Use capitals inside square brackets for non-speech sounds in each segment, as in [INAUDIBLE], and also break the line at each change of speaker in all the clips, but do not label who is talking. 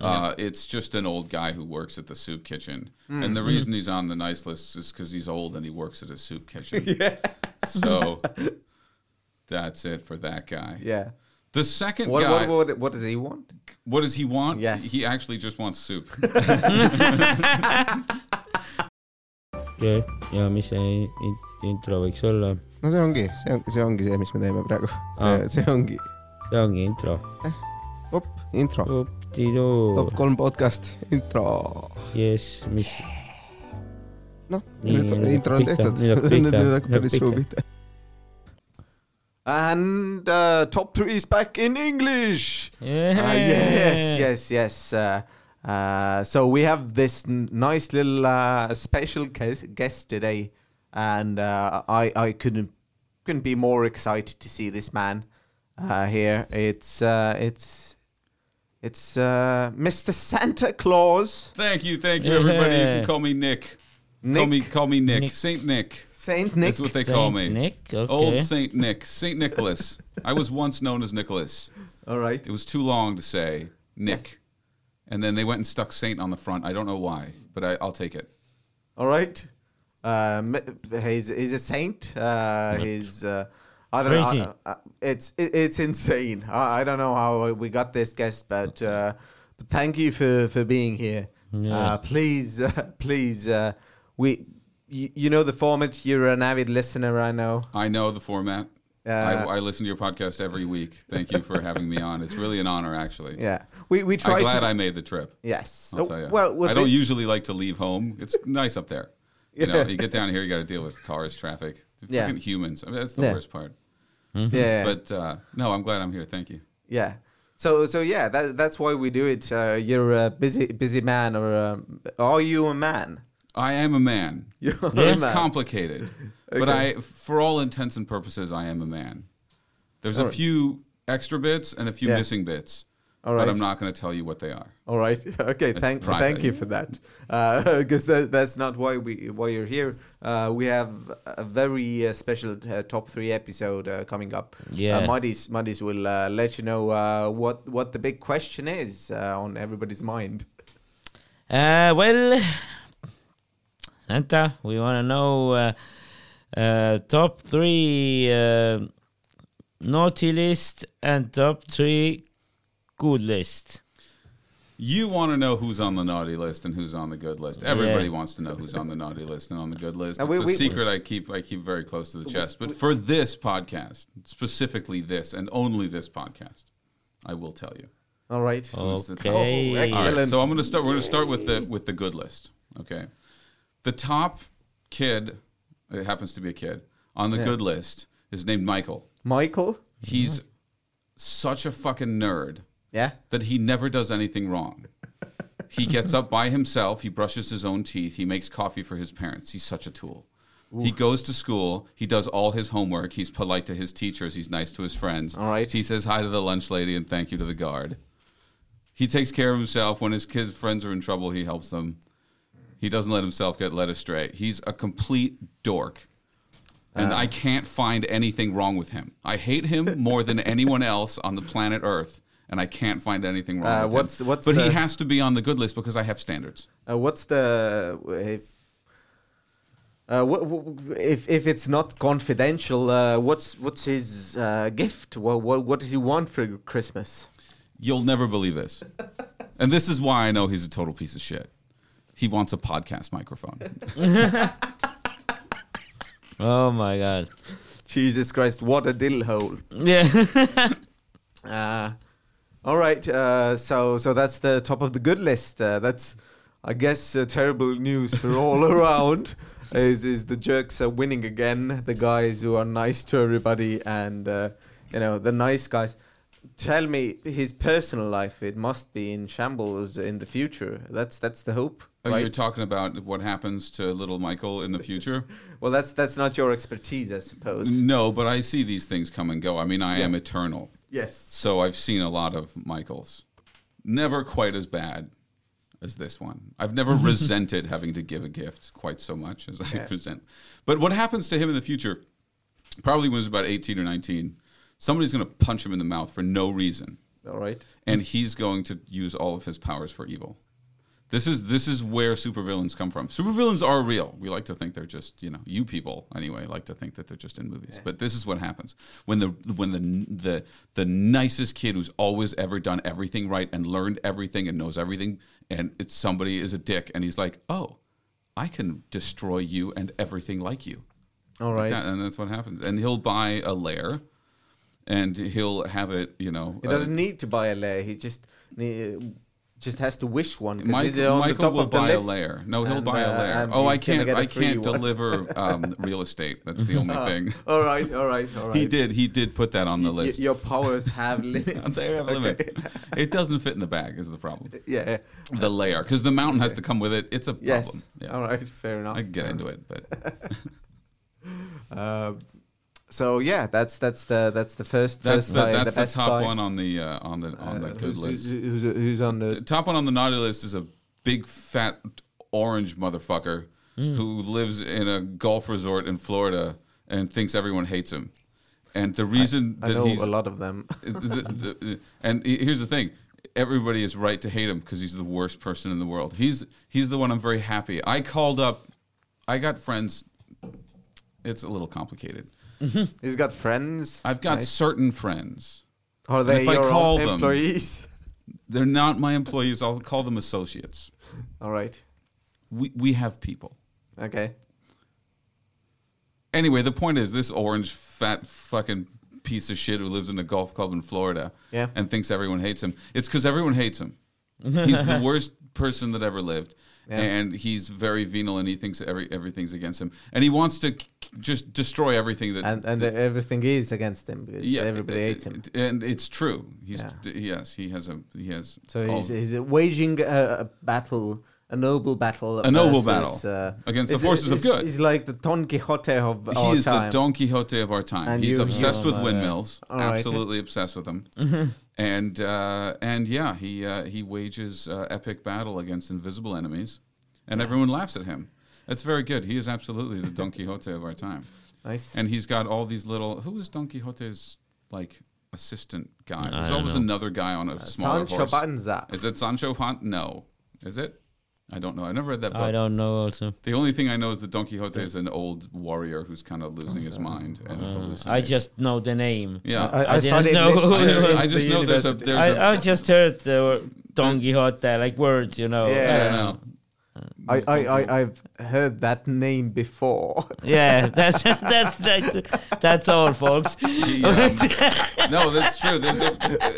Uh, It's just an old guy who works at the soup kitchen,
Hmm.
and the reason he's on the nice list is because he's old and he works at a soup kitchen.
[LAUGHS] yeah.
So that's it for that guy.
Yeah.
The second
What,
guy,
what, what, what does he want?
what does he want?
Yes.
he actually just wants
[LAUGHS]
soup.
okei okay. ja mis see in- intro võiks olla ?
no see ongi , see on , see ongi see , mis me teeme praegu .
Aa.
see ongi ,
see ongi intro .
op , intro ,
Up-di-doo
top , kolm podcast , intro .
jess , mis ,
noh ,
Nii,
nüüd
nüüd
intro on
pihta,
tehtud ,
nüüd hakkab
[LAUGHS] nüüd
pihta,
nüüd hakkab
nüüd
päris suu
hakkab
pihta .
And uh, top three is back in English. Uh, yes, yes, yes. Uh, uh, so we have this n- nice little uh, special guest, guest today, and uh, I I couldn't couldn't be more excited to see this man uh, here. It's uh, it's it's uh, Mr. Santa Claus,
Thank you, thank you, everybody. You can
Yeah.
call me Nick. Call
Nick?
me, call me Nick.
Nick.
Saint Nick.
Saint Nick.
That's what they call me.
Nick ,
Old
okei .
Saint Nick, Saint Nicholas. I was once known as Nicholas.
All right.
It was too long to say Nick, and then they went and stuck Saint on the front. I don't know why, but I, I'll take it.
All right. Um, he's he's a saint. Uh, he's uh, I don't
Crazy.
know. I- I- it's it, it's insane. I, I don't know how we got this guest, but uh, but thank you for for being here. Uh,
Yeah.
please, uh, please, uh, we. You, you know the format. You're an avid listener, I know.
I know the format.
Uh,
I, I listen to your podcast every week. Thank you for having me on. It's really an honor, actually.
Yeah, we we try
I'm glad
to.
I made the trip.
yes.
I'll
Oh,
tell you.
Well, with
I don't
the-
usually like to leave home.
[LAUGHS]
It's nice up there. You know,
Yeah.
you get down here, you got to deal with cars, traffic,
Yeah.
freaking humans. I mean, that's the
Yeah.
worst part.
yeah.
But uh, no, I'm glad I'm here. Thank you.
Yeah. So so yeah, that that's why we do it. Uh, you're a busy busy man, or um, are you a man?
I am a man.
[LAUGHS] You're
It's
a man.
complicated, but I, for all intents and purposes, I am a man. There's a few extra bits and a few
Yeah.
missing bits,
All
but
right.
I'm not going to tell you what they are.
All right. [LAUGHS] Okay. Thank
private.
thank you for that, [LAUGHS] because that, that's not why we why you're here. Uh, we have a very uh, special uh, top three episode uh, coming up.
Yeah.
Uh, Muddies Muddies will uh, let you know uh, what what the big question is uh, on everybody's mind. [LAUGHS]
Uh, well, Santa, we want to know uh, uh, top three uh, naughty list and top three good list.
You want to know who's on the naughty list and who's on the good list. Everybody
Yeah.
wants to know who's on the naughty list and on the good list.
And
It's
we-
a
we-
secret I keep I keep very close to the chest. But for this podcast, specifically this and only this podcast, I will tell you.
All right.
Who's the top?
Okay.
Oh,
All right,
excellent.
so I'm going to start. We're going to start with the with the good list. Okay, the top kid, it happens to be a kid on the good list, is named Michael.
Michael.
He's such a fucking nerd
Yeah.
that he never does anything wrong. He gets up by himself. He brushes his own teeth. He makes coffee for his parents. He's such a tool. He goes to school. He does all his homework. He's polite to his teachers. He's nice to his friends.
All right.
He says hi to the lunch lady and thank you to the guard. He takes care of himself. When his kids' friends are in trouble, he helps them. He doesn't let himself get led astray. He's a complete dork. And
Ah.
I can't find anything wrong with him. I hate him more than anyone else on the planet Earth, and I can't find anything wrong
Uh,
with
what's-
him.
what's
but he
the-
has to be on the good list because I have standards.
Uh, what's the if uh, wha- wha- if if it's not confidential? Uh, what's what's his uh, gift? What, what what does he want for Christmas?
You'll never believe this. and this is why I know he's a total piece of shit. He wants a podcast microphone.
Oh my god.
Jesus Christ! What a dill hole.
Yeah. [LAUGHS]
Uh, all right. Uh, so so that's the top of the good list. Uh, that's I guess uh, terrible news for all [LAUGHS] around. Is is the jerks are winning again? The guys who are nice to everybody and uh, you know the nice guys. Tell me his personal life. It must be in shambles in the future. That's that's the hope.
Are you
Right?
talking about what happens to little Michael in the future?
Well, that's that's not your expertise, I suppose.
no, but I see these things come and go. I mean, I am eternal.
Yes.
So I've seen a lot of Michaels. Never quite as bad as this one. I've never resented having to give a gift quite so much as I resent. But what happens to him in the future, probably when he's about 18 or 19, somebody's going to punch him in the mouth for no reason.
All right.
and he's going to use all of his powers for evil. This is this is where supervillains come from. Supervillains are real. We like to think they're just you know you people anyway like to think that they're just in movies. But this is what happens when the when the the the nicest kid who's always ever done everything right and learned everything and knows everything and it's somebody is a dick and he's like oh I can destroy you and everything like you.
All
Like
right.
that, and that's what happens. And he'll buy a lair, and he'll have it. You know,
He
uh,
doesn't need to buy a layer. He just ne- just has to wish one. 'cause
Mike,
he's on the
Michael
top
will
of the
buy a
list.
layer. No, he'll
And,
buy a
uh,
layer.
and
Oh, I
he's gonna
can't.
get a
I
free
can't
one.
deliver
[LAUGHS]
um, real estate. That's the only thing.
All right, all right, all right.
He did. He did put that on the
Y-
list.
your powers have
[LAUGHS]
limits.
They have
Okay.
limits. It doesn't fit in the bag. Is the problem
[LAUGHS] Yeah. yeah.
the layer? Because the mountain has to come with it. It's a problem.
Yes. Oh,
Yeah.
All right. Fair enough.
I can get into it,
[LAUGHS]
but
Uh, so yeah, that's that's the that's the first.
that's
first
the,
buy,
that's the
best
top
buy.
one on the uh, on the on the
Uh,
good
who's,
list.
Who's, who's on
The
the?
top one on the naughty list is a big fat orange motherfucker who lives in a golf resort in Florida and thinks everyone hates him. And the reason
I
that
know
he's
a lot of them. [LAUGHS]
the- the- the- and he- here's the thing. Everybody is right to hate him because he's the worst person in the world. He's he's the one I'm very happy. I called up. I got friends. It's a little complicated.
He's got friends.
I've got
right?
certain friends.
Are they
if I
your
call
own
them-
employees? [LAUGHS]
They're not my employees. I'll call them associates.
All right.
We we have people.
Okay.
Anyway, the point is this orange fat fucking piece of shit who lives in a golf club in Florida
Yeah.
and thinks everyone hates him. It's because everyone hates him. He's
[LAUGHS]
the worst person that ever lived.
Yeah.
And he's very venal and he thinks every, everything's against him. And he wants to k- k- just destroy everything that.
And and everything is against him because everybody
it-
hates him.
it- And it's true. He's
Yeah.
d- yes, he has a he has
So
all-
he's, he's waging a, a battle, a noble battle.
A noble
versus,
battle
uh,
against the
is-
forces of
is-
good.
He's like the Don Quixote of
he
our
is the
time.
Don Quixote of our time.
And
He's
you-
obsessed
you-
with windmills,
All right. Mm-hmm.
absolutely obsessed with them. and uh, and yeah, he uh, he wages uh, epic battle against invisible enemies, and everyone laughs at him. That's very good. He is absolutely the Don Quixote of our time,
nice.
and he's got all these little. Who is Don Quixote's like assistant guy? There's
don't
always
know.
another guy on a smaller
Uh, Sancho
horse.
Panza.
Is it Sancho Pan? No, is it? I don't know. I never read that book.
I don't know also.
The only thing I know is that Don Quixote is an old warrior who's kind of losing his mind and
Uh,
hallucinates.
I just know the name.
yeah. I,
I, I,
I didn't
studied
know.
literature
I just, I
[LAUGHS]
at
just
the
know there's a
university.
there's a
I, I just heard the word Don Quixote, like words, you know. Uh,
I
Yeah.
don't know.
I, I, I, I've heard that name before. [LAUGHS]
Yeah, [LAUGHS] that's that's that, that's all, folks.
Yeah. no, that's true. There's a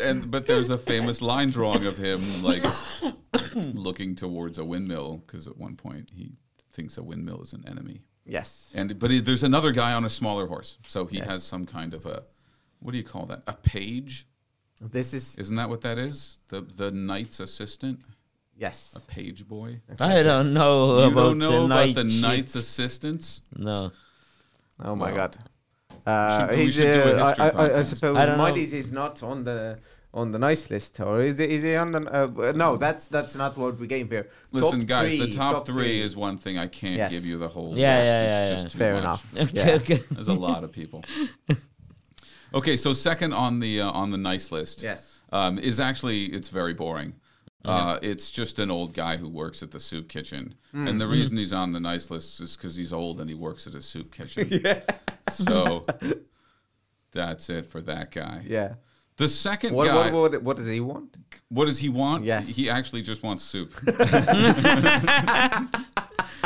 and but there's a famous line drawing of him like [COUGHS] looking towards a windmill because at one point he thinks a windmill is an enemy.
yes.
And but he, there's another guy on a smaller horse, so he
Yes.
has some kind of a what do you call that? A page?
This is
Isn't that what that is? The the knight's assistant,
yes.
page boy.
I don't know
You
about
don't know
the
about
night
the
shit.
Knights Assistants?
No,
Oh my
Wow.
god.
should-
Uh,
we
he's,
should do a
uh,
history
I, I, I
podcast.
suppose
I don't know.
Mighty's is not on the on the nice list, or is it? Is he on the? Uh, no, that's that's not what we game here.
Listen,
Top
guys,
three,
the top, three, is one thing I can't
Yes.
give you the whole
Yeah,
list.
yeah,
it's
yeah,
just
yeah.
too
fair
much.
enough.
[LAUGHS] okay,
Yeah.
okay.
There's a lot of
[LAUGHS]
people. Okay, so second on the uh, on the nice list
Yes.
um, is actually it's very boring. Uh, it's just an old guy who works at the soup kitchen, and
Mm.
the reason he's on the nice list is because he's old and he works at a soup
[LAUGHS]
kitchen. So that's it for that guy.
Yeah.
The second
What,
guy,
what, what, what does he want?
What does he want?
Yes.
He actually just wants soup. [LAUGHS]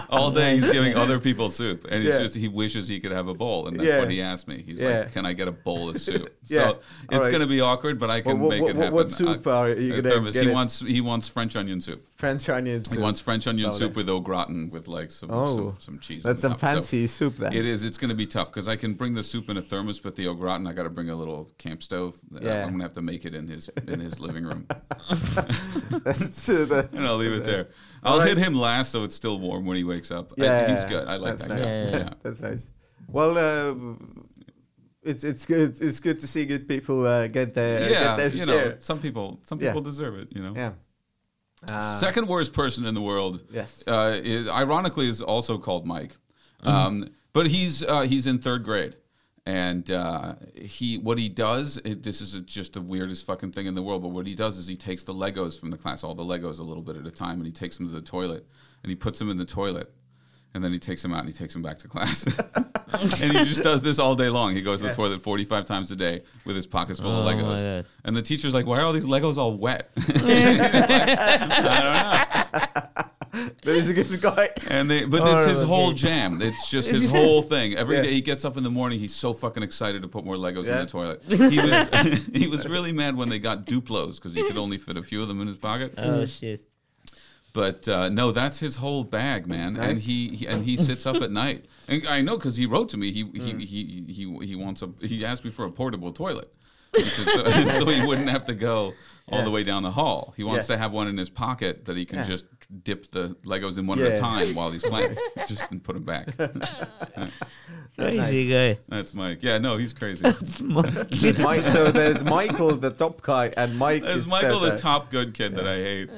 All day he's giving other people soup. And he's
Yeah.
just he wishes he could have a bowl. And that's
Yeah.
what he asked me. He's
Yeah.
like, Can I get a bowl of
[LAUGHS]
soup?
Yeah.
So it's
All right.
gonna be awkward, but I can
what-
make
what-
it
what-
happen.
what soup
I-
are you
uh,
gonna
thermos.
get
He
it?
wants he wants French onion soup.
French onion soup.
He wants French onion
Lovely.
soup with au gratin with like some
Oh.
some, some cheese.
That's
on
some
top. So
fancy soup then. [LAUGHS]
It is. It's going to be tough because I can bring the soup in a thermos, but the au gratin, I got to bring a little camp stove.
Yeah.
I'm going to have to make it in his in his living room.
That's, uh, the-
and I'll leave it there.
All
I'll
right.
hit him last, so it's still warm when he wakes up. I-
Yeah,
he's good. I like
that's
that
nice.
guy.
Yeah,
Yeah,
yeah,
[LAUGHS] That's nice. Well, uh, it's it's good. It's good to see good people uh, get their
Yeah,
get their
you
share.
know, some people, some
Yeah.
people deserve it. You know,
Yeah. Uh,
second worst person in the world.
Yes.
uh,
Mm-hmm.
is, ironically, is also called Mike, um, but he's uh, he's in third grade, and uh, he what he does it, this is just the weirdest fucking thing in the world but what he does is he takes the legos from the class all the legos a little bit at a time and he takes them to the toilet and he puts them in the toilet and then he takes them out and he takes them back to
[LAUGHS]
class and he just does this all day long he goes to the toilet 45 times a day with his pockets full
Oh,
of
my
legos
God.
and the teacher's like why are all these legos all wet [LAUGHS] i don't know
There is a good guy.
[LAUGHS] and they, but
Or
it's his
was
whole
he-
jam. It's
[LAUGHS]
just his whole thing. Every day
Yeah.
he gets up in the morning, he's so fucking excited to put more Legos in
Yeah.
the toilet. He was [LAUGHS] he
[LAUGHS]
was really mad when they got Duplos because he could only fit a few of them in his pocket.
Uh,
Oh shit.
But uh, no, that's his whole bag, man. And
Nice.
he, he and he sits up at
[LAUGHS]
night. And I know because he wrote to me. He
Hmm.
he, he he he wants a. He asked me for a portable
[LAUGHS]
toilet, He said so, [LAUGHS] so he wouldn't have to go all the way down the hall. He wants
Yeah.
to have one in his pocket that he can
Yeah.
just dip the Legos in one at
Yeah.
a time while he's
[LAUGHS]
playing, just and put them back.
Crazy guy.
That's Mike. Yeah, no, he's crazy. [LAUGHS]
It's monkey.
Mike, so there's Michael, the top guy, and Mike.
There's
is
Michael, the
the-
top good kid that I hate,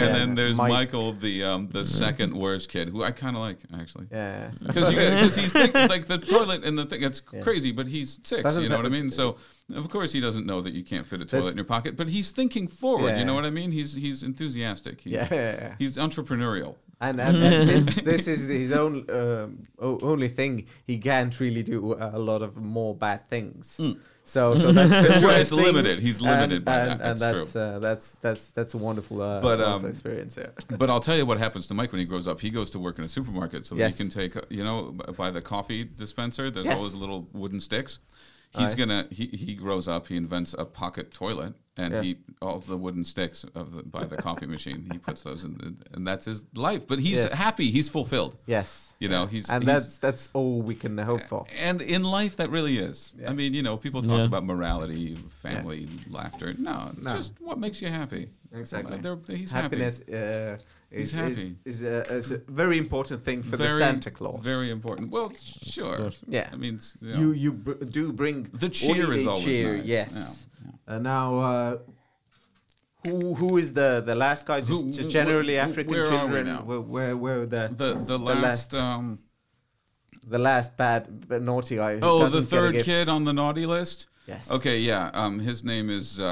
and then there's
Uh, Mike.
Michael, the um, the second worst kid, who I kind of like actually. [LAUGHS]
Yeah.
because because he's think, like
[LAUGHS]
the toilet and the thing. It's crazy, but he's 6
Doesn't
you know
that-
what I mean? So of course he doesn't know that you can't fit a toilet
That's-
in your pocket, but he's thinking forward. You
Yeah.
know what I mean? He's he's enthusiastic. He's,
Yeah.
he's entrepreneurial.
And, and,
[LAUGHS]
and since this is his own um, o- only thing, he can't really do a lot of more bad things. So, so that's
[LAUGHS]
the
Sure,
worst
Hmm. it's
thing.
limited. He's limited
and,
by that.
and,
That's
And that's
true.
Uh, that's that's that's a wonderful, uh,
But,
wonderful
um,
experience. Yeah.
But I'll tell you what happens to Mike when he grows up. He goes to work in a supermarket, so
Yes.
he can take you know by the coffee dispenser. There's
Yes.
all those little wooden sticks. He's
Aye.
gonna he, he grows up. He invents a pocket toilet, and
Yeah.
he all the wooden sticks of the, by the coffee machine. He puts those in, the, and that's his life. But he's
Yes.
happy. He's fulfilled.
Yes.
You know he's
and
he's-
that's that's all we can hope for.
and in life that really is. I
Yes.
mean, you know, people talk
Yeah.
about morality, family, laughter. No, it's
No.
just what makes you happy.
Exactly.
They're- he's happy.
Happiness uh,
He's
is, is,
happy.
is, a, is a very important thing for the Santa Claus.
Very important. Well, sure.
course.
Yeah.
I mean, it's, you, know,
you you br- do bring
the cheer
holiday
is always
cheer,
nice.
Yes.
Yeah,
Uh, now, uh, who who is the the last guy? Just,
Who-
just
wh-
generally
wh-
African
where are we
children.
now?
Where, where where the
yeah. The the last.
last-
um,
the last bad b- naughty guy? who
oh, the
doesn't get a
third
gift?
kid on the naughty list.
Yes.
Okay. Yeah. Um, his name is uh,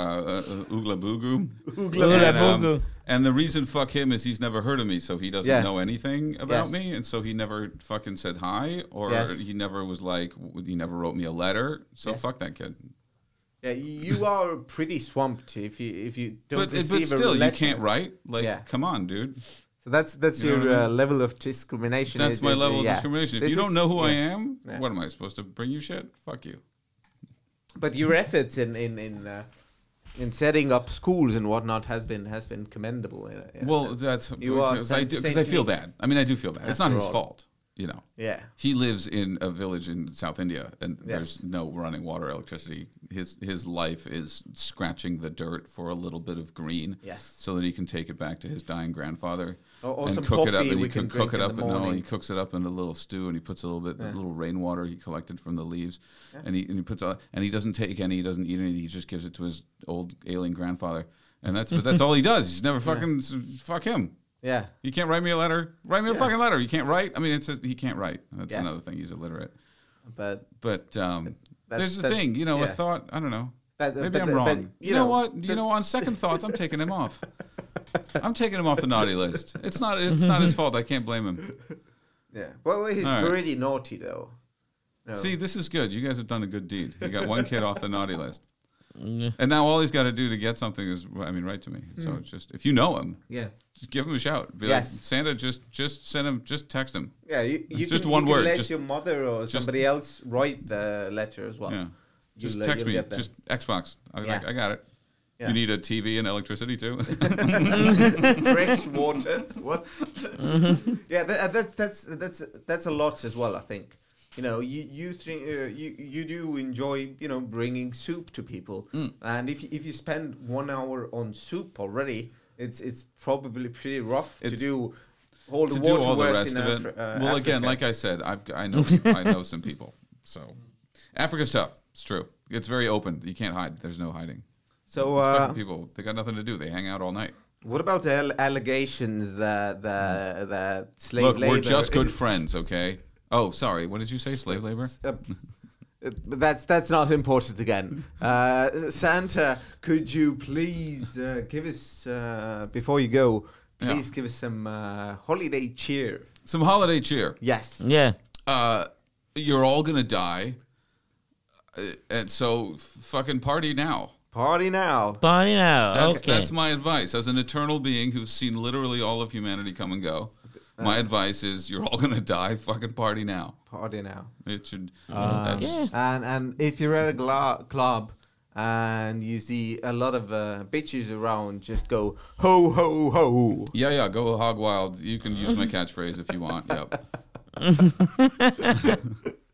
uh, Oogla Boogoo.
Oogla
and, um,
Boogoo.
and the reason fuck him is he's never heard of me, so he doesn't
Yeah.
know anything about
Yes.
me, and so he never fucking said hi, or
Yes.
he never was like, w- he never wrote me a letter. So
Yes.
fuck that kid.
Yeah,
[LAUGHS]
you are pretty swamped if you if you don't
But but
receive a
still, you
letter.
can't write. Like,
Yeah.
come on, dude.
So that's that's
You know
your
what I
uh, level of discrimination.
That's
is-
my
is, uh,
level
yeah.
of discrimination. If
This
you don't
is-
know who I
yeah.
am,
Yeah.
what am I supposed to bring you shit? Fuck you.
But your efforts in in in uh, in setting up schools and whatnot has been has been commendable. In a, in a
well,
sense.
that's
You are
because I
Saint-
do because I
Saint
feel
Nick.
bad. I mean, I do feel bad. It's not
After
his
all.
fault, you know.
yeah,
He lives in a village in South India, and
Yes.
there's no running water, electricity. His his life is scratching the dirt for a little bit of green,
Yes.
so that he can take it back to his dying grandfather
Or- or Oh, some
cook it up.
coffee
And
we
he
can
can cook
drink
it
in
up.
the
And no, he
morning.
cooks it up in a little stew, and he puts a little bit, a little rainwater he collected from the leaves, and he and he puts all, and he doesn't take any, he doesn't eat any. He just gives it to his old ailing grandfather, and that's but that's all he does. He's
[LAUGHS]
never fucking fuck him.
yeah.
You can't write me a letter. Write me a
Yeah.
fucking letter. You can't write. I mean, it's a, he can't write. That's
Yes.
another thing. He's illiterate.
But
But um,
That's-
there's the
that's-
thing. You know, I
yeah.
thought. I don't know.
But-
Maybe
but-
I'm
but-
wrong.
but,
you, know, what? You know, on second thoughts, I'm taking him off. I'm taking him off the naughty list. It's not. It's not his fault. I can't blame him.
Yeah. Well, well, he's
All right.
pretty naughty though. No.
See, this is good. You guys have done a good deed. You got one kid off the naughty list,
Mm.
Mm-hmm.
and now all he's got to do to get something is, I mean, write to me. So it's just if you know him,
Yeah.
just give him a shout. Be
Mm. Yes.
like, Santa, just just send him, just text him.
Yeah. You, you
Just
can,
one
you can
word,
Let
just-
your mother or somebody else write the letter as well.
Yeah.
You'll,
Just
uh,
text
you'll
me.
get that.
Just Xbox. I,
Yeah.
I, I got it.
Yeah.
You need a TV and electricity too.
[LAUGHS]
Mm-hmm.
fresh water. What? yeah, that, uh, that's that's that's that's a lot as well. I think. You know, you you think uh, you you do enjoy you know bringing soup to people,
Mm.
and if you- if you spend one hour on soup already, it's it's probably pretty rough to
It's-
do all the
to do
water
all the
works
rest
in
of it.
Afri- uh,
well, again,
Africa.
like I said, I've g- I know some- I know some people. So Africa's tough. It's true. It's very open. You can't hide. There's no hiding.
so.
It's
Uh,
fucking people. They got nothing to do. They hang out all night.
what about the al- allegations that that that slave
Mm. Look,
labor
we're just good
is-
friends, okay? Oh, sorry. What did you say? Slave labor?
Uh, [LAUGHS] But that's that's not important again. Uh, Santa, could you please uh, give us uh, before you go?
Yeah.
Please give us some uh, holiday cheer.
Some holiday cheer.
Yes.
[LAUGHS] Yeah.
Uh, you're all gonna die, Uh, and so f- fucking party now.
Party now.
Party now.
That's
okay.
that's my advice as an eternal being who's seen literally all of humanity come and go. My advice is you're all [LAUGHS] gonna die. Fucking party now.
Party now.
It should.
Ah. Yeah.
that's,
And and if you're at a gla- club and you see a lot of uh, bitches around, just go ho ho ho.
yeah, yeah. Go hog wild. You can use my catchphrase if you want. Yep.